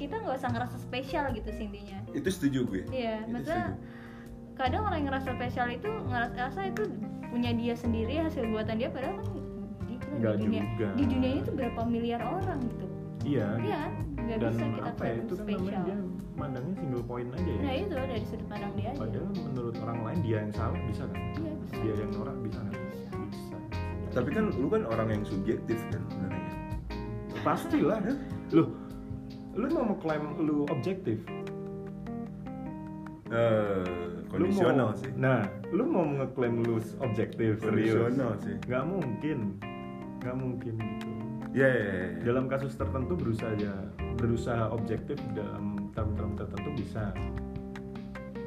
A: kita nggak usah ngerasa spesial gitu sih intinya
B: Itu setuju gue.
A: Iya,
C: Gitu
B: Itu
A: maksudnya kadang orang yang ngerasa spesial itu ngerasa itu punya dia sendiri hasil buatan dia padahal kan di,
C: Nggak
A: di dunia
C: juga.
A: di dunia ini tuh berapa miliar orang gitu.
C: iya
A: Iya kan? Nggak
C: dan
A: bisa kita
C: apa ya
A: klaim
C: itu kan namanya
A: spesial.
C: dia mandangnya single point aja ya
A: Nah itu dari sudut pandang dia aja.
C: padahal menurut orang lain dia yang salah bisa kan
A: Iya, bisa.
C: dia yang norak bisa kan
A: Bisa.
C: bisa
B: Tapi kan lu kan orang yang subjektif kan sebenarnya.
C: pastilah lu lu mau mengklaim lu objektif
B: Eh,
C: Lu mau-
B: kondisional sih.
C: nah lu mau ngeklaim lu objektif serius
B: Kondisional sih.
C: nggak mungkin nggak mungkin gitu
B: Iya, iya, iya, iya.
C: dalam kasus tertentu berusaha ya- berusaha objektif dalam term-term tertentu bisa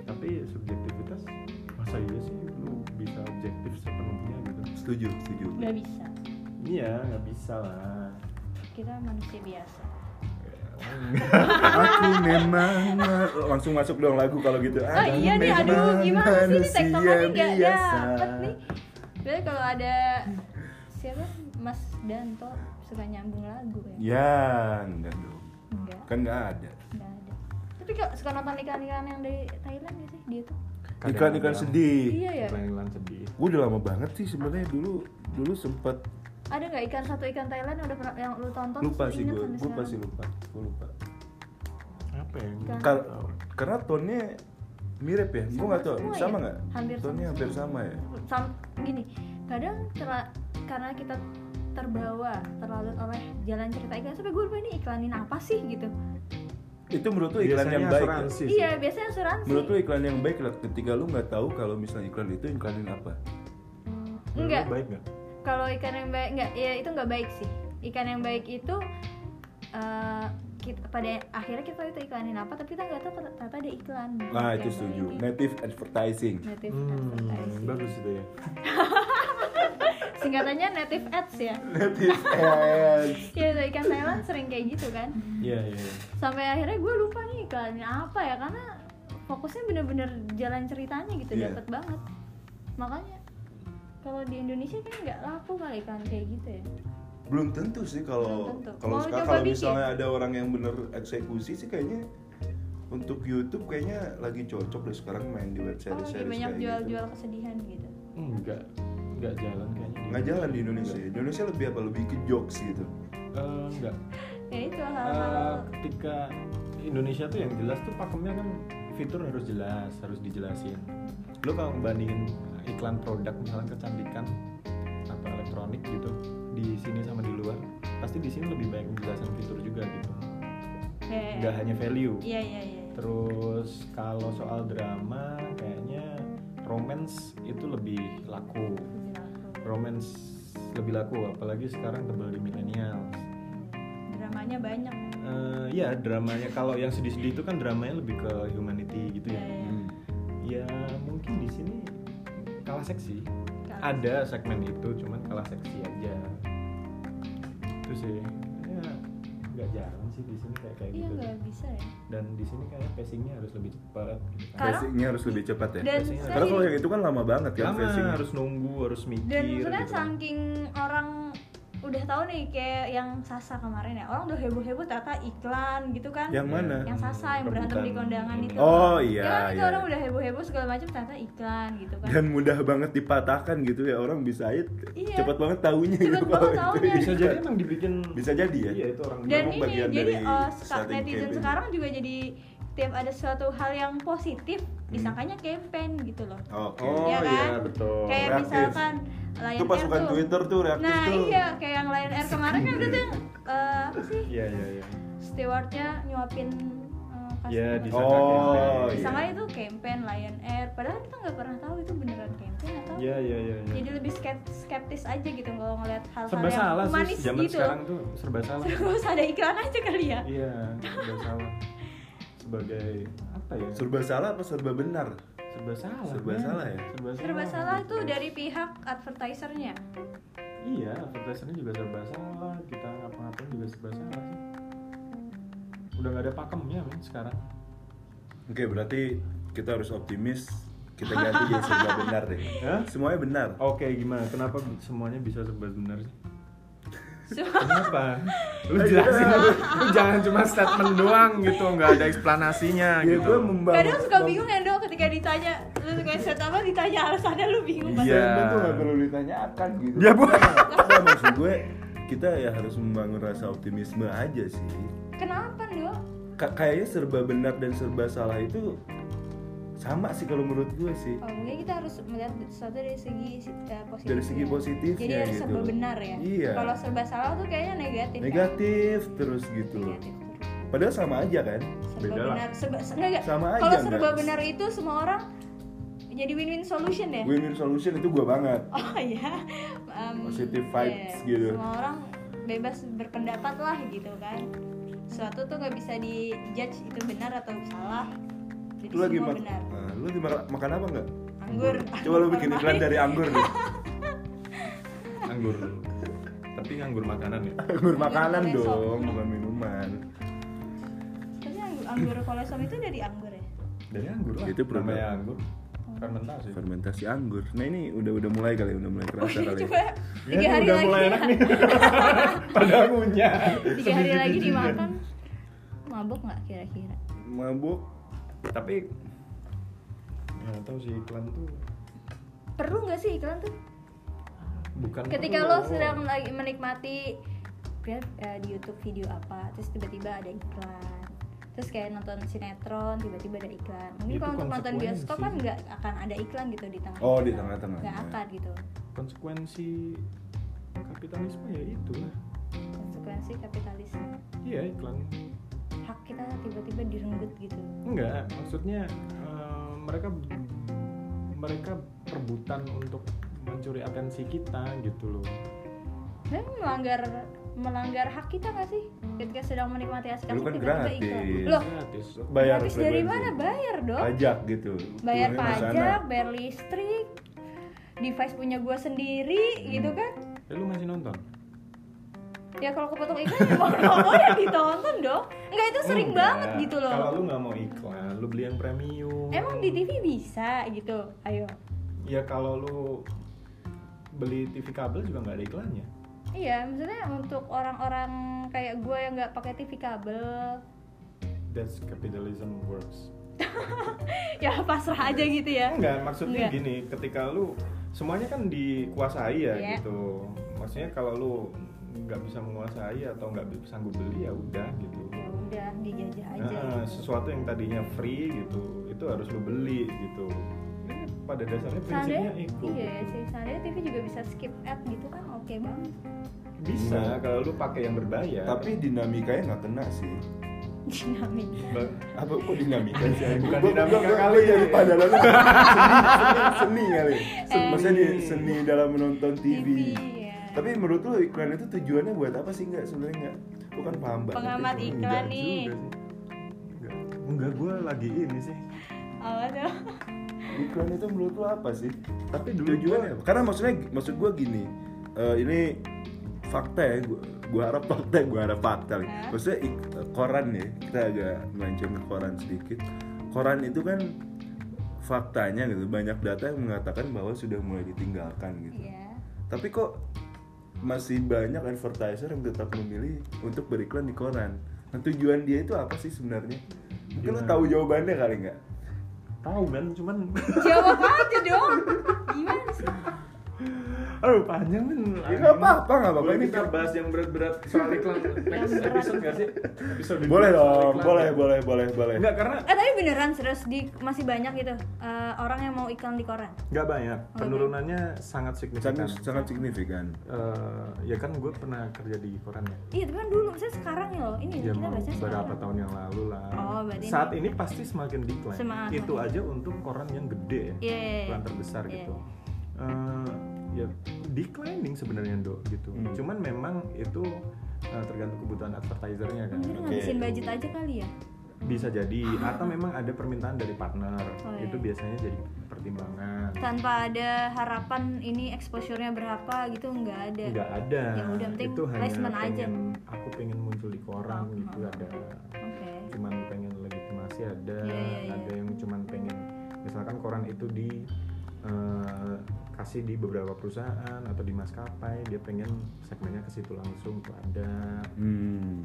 C: tapi subjektivitas masa iya sih lu bisa objektif sepenuhnya gitu
B: Setuju, setuju.
A: Nggak bisa.
C: iya nggak bisa lah
A: Kita manusia biasa.
B: Aku memang langsung masuk dong lagu kalau gitu.
A: Ah
B: Aku
A: iya nih, aduh
B: memang
A: gimana sih ini tektokannya nggak
B: biasa.
A: dapet nih. Berarti kalau ada siapa Mas Danto suka nyambung lagu ya?
C: Iya.
B: Ya, enggak dong.
A: Enggak.
B: Kan enggak ada.
A: Nggak ada. Tapi kok suka nonton ikan-ikan yang dari Thailand gak sih dia tuh?
B: Iklan-iklan sedih.
A: Iya ya.
C: iklan sedih
B: Gue udah lama banget sih sebenarnya dulu dulu sempat
A: Ada nggak ikan satu ikan Thailand yang udah pernah yang lu tonton?
B: lupa
A: terus lu
B: sih
A: ingat
B: gue
A: sampai
B: gue
A: sekarang?
B: pasti lupa gue lupa
C: apa ya
A: Ikan.
B: Kar- karena tonnya mirip ya gue
A: Sama
B: nggak tahu
A: semua ya?
B: sama nggak
A: Hampir
B: tonnya
A: sama
B: hampir
A: semua.
B: sama ya
A: Sam- gini, kadang tera- karena kita terbawa terlalu oleh jalan cerita ikan sampai gue lupa ini iklanin apa sih gitu
B: itu menurut lu iklan yang baik ya?
C: asuransi sih.
A: iya biasanya asuransi
B: menurut lu iklan yang baik lah ketika lu nggak tahu kalau misalnya iklan itu iklanin apa
C: Menurut lu
A: enggak
C: baik nggak
A: kalau ikan yang baik enggak ya itu nggak baik sih ikan yang baik itu eh, kita, pada akhirnya kita itu iklanin apa tapi kita nggak tahu kalau ternyata ada iklan Yang
B: nah itu setuju
A: baik.
B: native advertising
A: native
C: hmm,
A: advertising.
C: bagus itu ya
A: singkatannya native ads ya
B: native ads
A: ya dari ikan Thailand sering kayak gitu kan
C: iya iya iya.
A: sampai akhirnya gue lupa nih iklannya apa ya karena fokusnya bener-bener jalan ceritanya gitu
B: Iya.
A: dapet banget makanya kalau di Indonesia kan nggak laku kali iklan kayak gitu ya
B: belum tentu sih kalau
A: Belum tentu.
B: kalau
A: Mau
B: sekarang
A: coba
B: kalau
A: bikin?
B: misalnya ada orang yang bener eksekusi sih kayaknya untuk YouTube kayaknya lagi cocok deh sekarang main di web
A: kalau Oh,
B: series
A: lagi
B: series
A: banyak
B: kayak gitu.
A: jual-jual kesedihan gitu
C: enggak enggak jalan kayaknya di-
B: nggak jalan di Indonesia. ya. Indonesia lebih apa? Lebih ke jokes gitu.
C: Eh, enggak
A: ya itu
C: Eh,
A: hal-hal
C: ketika Indonesia tuh yang jelas tuh pakemnya kan fitur harus jelas harus dijelasin lo kalau bandingin iklan produk misalnya kecantikan atau elektronik gitu di sini sama di luar pasti di sini lebih banyak penjelasan fitur juga gitu
A: Iya,
C: nggak hanya value
A: Iya iya iya.
C: terus kalau soal drama kayaknya romance itu lebih laku romance lebih laku apalagi sekarang tebal di milenial
A: Dramanya banyak.
C: Eh, ya dramanya kalau yang sedih-sedih itu kan dramanya lebih ke humanity gitu ya.
A: Iya, iya.
D: Hmm.
C: Ya mungkin di sini kalah seksi.
A: Kalah
C: Ada segmen itu, cuman kalah seksi aja. Itu sih. Ya nggak jarang sih di sini kayak kayak
A: Iya
C: gitu.
A: nggak bisa ya.
C: Dan di sini kayaknya pacingnya harus lebih cepat. Gitu. kan.
A: Sekarang-
B: Pacingnya harus lebih cepat ya.
A: Dan
C: Biasanya-
A: saya
B: Karena kalau
A: jadi-
B: yang itu kan lama banget kan
C: Lama,
B: pacingnya.
C: harus nunggu, harus mikir.
A: dan
B: kan.
A: maksudnya
C: gitu.
A: saking orang udah tahu nih kayak yang Sasa kemarin ya orang udah heboh heboh ternyata iklan gitu kan
B: Yang mana?
A: yang Sasa yang berantem di
C: Rebutan.
A: kondangan itu
B: Oh, iya,
A: ya kan itu
B: iya.
A: orang udah heboh heboh segala macam ternyata iklan gitu kan
B: Dan mudah banget dipatahkan gitu ya orang bisa aja
A: Iya.
B: cepat banget taunya
A: Cepet
B: gitu
A: banget
B: kalau
A: taunya.
B: itu
C: Iya, Bisa jadi
B: iklan.
C: emang dibikin
B: bisa jadi ya.
C: Iya, itu orang
A: dan
B: Memang
A: ini
B: bagian
A: jadi
B: dari
A: eh, ska-
B: starting
A: netizen
B: campaign.
A: sekarang juga jadi tiap ada suatu hal yang positif
B: Hmm.
A: disangkanya campaign gitu loh
B: Oke.
C: Oh
A: Iya
C: iya,
A: kan?
C: betul.
A: kayak
B: reaktif.
A: misalkan Lion
B: itu pasukan
A: Air tuh-
B: Twitter tuh reaktif
A: nah
B: tuh.
A: iya kayak yang Lion Air kemarin kan udah tuh eh, apa sih
C: Iya, iya, iya.
A: stewardnya nyuapin eh,
C: Iya,
A: customer.
C: disangka
B: Oh,
C: campaign.
B: iya.
A: Disangka itu campaign Lion Air, padahal kita nggak pernah tahu itu beneran campaign atau
C: Iya, iya, iya. iya.
A: jadi lebih skept- skeptis aja gitu kalau ngelihat hal-hal
C: serba
A: yang
C: salah sih
A: humanis
C: zaman
A: gitu.
C: sekarang tuh serba salah
A: Terus ada iklan aja kali ya.
C: iya serba salah sebagai apa ya
B: Serba salah apa serba benar?
C: serba salah
B: Serba
C: kan?
B: salah ya?
C: serba salah,
A: Serba salah
C: gitu.
A: itu dari pihak advertisernya.
C: iya advertisernya juga serba salah kita ngapa-ngapain juga serba salah sih udah nggak ada pakemnya men sekarang
B: Oke, berarti kita harus optimis kita ganti jadi serba benar deh.
C: Hah?
B: Semuanya benar.
C: oke gimana kenapa semuanya bisa serba benar sih
A: Semua
C: Kenapa? Lu jelasin lu, lu jangan cuma statement doang gitu, nggak ada eksplanasinya
B: Ya, gue
C: gitu.
B: membangun.
A: kadang suka bingung ya dok ketika ditanya lu suka set apa ditanya alasannya lu bingung
C: Iya.
A: banget.
B: Itu nggak perlu ditanyakan gitu.
C: Ya, Bu.
B: Nah, maksud gue kita ya harus membangun rasa optimisme aja sih.
A: Kenapa dok?
B: Ka- kayaknya serba benar dan serba salah itu sama sih kalau menurut gue sih.
A: Oh, mungkin kita harus melihat sesuatu dari segi eh, positifnya.
B: Dari segi positifnya
A: Jadi harus
B: gitu.
A: serba benar ya.
B: Iya.
A: Kalau serba salah tuh kayaknya negatif. kan?
B: Negatif terus gitu loh.
A: Negatif terus.
B: Padahal sama aja kan.
A: serba
C: Beda lah.
A: benar serba se- enggak, enggak.
B: Sama aja,
A: kalau serba
B: enggak.
A: benar itu semua orang jadi win-win solution ya
B: Win-win solution itu gue banget.
A: oh ya Em,
B: Positive
A: iya,
B: vibes gitu.
A: semua orang bebas berpendapat lah gitu kan suatu tuh nggak bisa di judge itu benar atau salah jadi
B: Lu lagi
A: semua
B: mak-
A: benar
B: Nah, lu lagi mak- makan apa nggak?
A: anggur
B: Coba lu bikin iklan dari anggur deh.
C: Nganggur. Tapi nganggur makanan ya.
B: Anggur makanan
A: Anggur kolesom.
B: dong, bukan minuman.
A: tapi anggur, anggur kolesom itu dari anggur ya
C: Dari anggur lah.
B: Itu produk.
C: Namanya Kan anggur. Fermentasi.
B: Fermentasi anggur. Nah ini udah udah mulai kali, ya, udah mulai
A: Oh,
B: kerasa
A: iya,
B: kali.
A: coba tiga hari
C: ya. udah
A: lagi
C: mulai enak nih. Pada ngunyah.
A: tiga hari lagi dimakan mabuk nggak kira-kira
B: Mabuk.
C: Tapi nggak tahu sih iklan tuh
A: perlu nggak sih iklan tuh
C: bukan
A: ketika
C: Kan perlu.
A: lo sedang lagi menikmati lihat eh, di YouTube video apa terus tiba-tiba ada iklan terus kayak nonton sinetron tiba-tiba ada iklan mungkin
C: Itu
A: kalau untuk nonton
C: konsekuensi.
A: bioskop kan nggak akan ada iklan gitu di tengah
B: Oh, di tengah-tengah,
A: nggak
C: iya.
B: ya.
A: akan gitu
C: konsekuensi kapitalisme ya itu lah.
A: konsekuensi kapitalisme
C: Iya iklan.
A: hak kita tiba-tiba direnggut gitu
C: Enggak, maksudnya eh, mereka mereka perebutan untuk mencuri atensi kita gitu loh.
A: dan Kan melanggar melanggar hak kita nggak sih ketika sedang menikmati asik
B: Lu
A: asik
B: kan
A: tiba-tiba iklan
B: gratis.
A: loh
C: Gratis.
B: Bayar
A: habis dari
B: frequency.
A: mana bayar dong
B: Pajak gitu.
A: bayar
B: Turunnya ke sana.
A: pajak, bayar listrik, device punya gua sendiri gitu kan.
C: Eh, lu masih nonton?
A: Ya kalau kepotong iklan ya mau nonton ya ditonton dong. Enggak itu sering
C: Enggak.
A: banget gitu loh.
C: Kalau lu nggak mau iklan, lu beli yang premium.
A: Emang di TV bisa gitu. Ayo.
C: Ya kalau lu beli TV kabel juga nggak ada iklannya.
A: Iya, maksudnya untuk orang-orang kayak gua yang nggak pakai TV kabel,
C: That's capitalism works.
A: ya pasrah aja gitu ya.
C: Enggak, maksudnya
A: Enggak.
C: gini, ketika lu semuanya kan dikuasai ya
A: Iya.
C: gitu. Maksudnya kalau lu nggak bisa menguasai atau nggak bi- sanggup beli ya udah gitu.
A: Ya udah dijajah aja.
C: Nah,
A: gitu.
C: sesuatu yang tadinya free gitu, itu harus lu beli gitu. Ini pada dasarnya prinsipnya
A: seandainya
C: ikut
A: iya sih seandainya TV juga bisa skip ad gitu kan oke banget
C: bisa
B: Iya.
C: kalau lu pakai yang berbayar
B: Tapi dinamikanya nggak kena sih.
A: dinamik
C: Ba-
B: Apa kok dinamika sih?
C: Bukan
B: Gua-
C: dinamika
B: gua- gua-
C: kali. ya.
B: gua jadi pada lalu seni, seni kali.
A: Eh.
B: Maksudnya di seni dalam menonton TV.
A: ya.
B: Tapi menurut lu iklan itu tujuannya buat apa sih nggak sebenarnya nggak? Bukan paham banget.
A: Pengamat
B: itu.
A: iklan.
D: Enggak
A: nih.
D: juga sih. Enggak, enggak gue lagi ini sih.
A: apa tuh
B: Iklan itu menurut lu apa sih?
C: tapi dulu
B: Tujuannya apa? Karena maksudnya maksud gua gini. eh, ini fakta ya, gua, gua harap fakta, gua harap fakta. nih.
A: Hah?
B: Maksudnya ik- eh, koran ya, kita agak melenceng ke koran sedikit. Koran itu kan faktanya gitu, banyak data yang mengatakan bahwa sudah mulai ditinggalkan gitu.
A: iya
B: Tapi kok masih banyak advertiser yang tetap memilih untuk beriklan di koran. Nah, tujuan dia itu apa sih sebenarnya? Mungkin lo
C: Gimana?
B: tahu jawabannya kali nggak?
C: tahu kan cuman
A: jawab aja dong gimana sih
C: aduh panjang kan
B: Ya, nggak apa-apa, nggak apa-apa.
C: Boleh
B: Ini
C: kita
B: kan-
C: bahas yang berat-berat soal iklan next
A: berat.
C: episode nggak sih episode dua
B: Boleh
C: soal
B: dong,
C: iklan. ya?
B: boleh, boleh, boleh, boleh.
C: nggak karena
A: eh tapi beneran serius di masih banyak gitu eh, orang yang mau iklan di koran
C: nggak banyak penurunannya Oh, iya. sangat signifikan
B: Sangat, sangat signifikan.
C: Eh, ya kan gue pernah kerja di koran ya
A: iya tapi kan dulu saya sekarang ya loh ini
C: Ya
A: kita
C: mau
A: baca
C: berapa tahun yang lalu lah.
A: Oh, berarti
C: Saat
A: ini-
C: ini pasti semakin decline.
A: Semakin.
C: Itu aja untuk koran yang
A: Iya,
C: gede,
A: iya, iya.
C: koran terbesar
A: Iya,
C: gitu.
A: iya.
C: Eh, ya declining sebenarnya dok gitu.
B: Hmm.
C: Cuman memang itu eh, tergantung kebutuhan advertisernya kan.
A: mungkin ngabisin budget aja kali ya
C: Bisa jadi atau memang ada permintaan dari partner.
A: Oh, iya.
C: Itu biasanya jadi pertimbangan.
A: tanpa ada harapan ini exposure-nya berapa gitu nggak ada
C: nggak ada.
A: Ya udah, penting
C: itu hanya
A: placement aja.
C: pengen, Aku pengen muncul di koran
A: Oh,
C: gitu
A: oh.
C: ada
A: oke
C: cuman pengen legitimasi ada
A: Iya, iya, iya.
C: ada yang cuman pengen misalkan koran itu di eh, kasih di beberapa perusahaan atau di maskapai dia pengen segmennya ke situ langsung tuh ada
B: Hmm.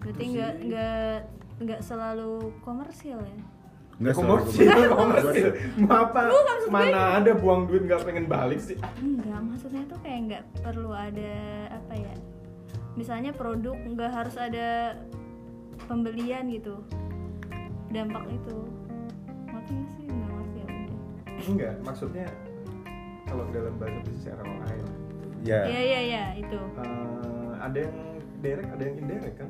A: berarti nggak nggak nggak selalu komersil ya
B: Nggak
C: komersil
B: selalu-
C: komersil mau apa
A: Lu nggak maksud gue.
C: mana ada buang duit nggak pengen balik sih
A: enggak maksudnya tuh kayak nggak perlu ada apa ya misalnya produk nggak harus ada pembelian gitu dampak itu ngerti nggak sih nggak ngerti ya udah
C: enggak maksudnya kalau dalam bahasa bisnis ROI lah
B: Ya.
A: ya ya ya itu
C: eh, ada yang direct ada yang indirect kan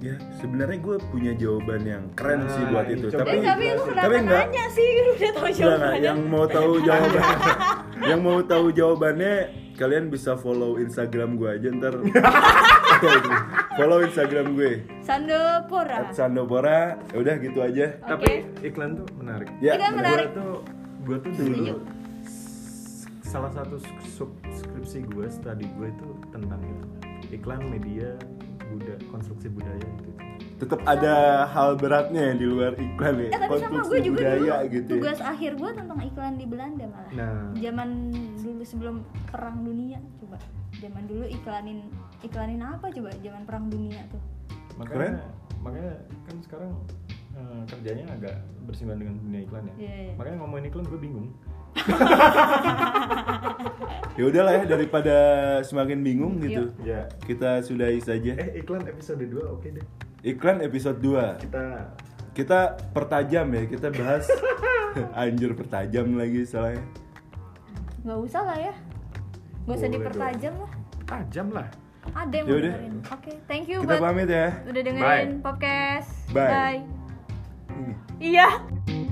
B: Ya, sebenarnya gue punya jawaban yang keren sih buat
C: Nah,
B: itu.
C: coba
A: tapi,
B: Tapi
A: eh, tapi lu
C: jelasin.
B: Tapi
A: kelihatan
B: nggak-
A: nanya sih lu udah tau
B: Enggak, enggak.
A: jawabannya
B: Iya yang mau tahu jawabannya yang mau tahu jawabannya kalian bisa follow Instagram gue aja ntar follow Instagram gue
A: Sandopora
B: at Sandopora ya udah gitu aja
C: tapi
A: Oke.
C: iklan tuh menarik
B: ya
A: Iklan
B: bener.
A: menarik.
C: Gue tuh, gue tuh
A: Setuju.
C: dulu s- salah satu sk- sub- skripsi gue, studi gue itu tentang itu iklan media buda, konstruksi budaya gitu.
B: tetap ada hal beratnya yang di luar iklan ya
A: eh tapi sama gue
B: konstruksi
A: juga
B: budaya
A: dulu
B: gitu ya.
A: tugas akhir gue tentang iklan di Belanda malah
C: Nah,
A: zaman dulu sebelum perang dunia coba zaman dulu iklanin iklanin apa coba zaman perang dunia tuh
B: Keren.
C: makanya makanya kan sekarang eh, kerjanya agak bersinggungan dengan dunia iklan ya.
A: Iya, iya.
C: Makanya ngomongin iklan gue bingung.
B: ya udahlah ya daripada semakin bingung
A: Iya.
B: gitu
C: Ya.
B: kita sudahi saja
C: Eh iklan episode 2 oke deh.
B: iklan episode 2
C: Kita
B: kita pertajam ya kita bahas anjir pertajam lagi salahnya
A: nggak usah lah ya nggak usah
C: Boleh
A: dipertajam lah
C: tajam lah.
A: ada yang mau
B: Yaudah.
A: dengerin oke thank you
B: kita
A: buat
B: pamit ya
A: udah dengerin podcast
B: Bye.
A: iya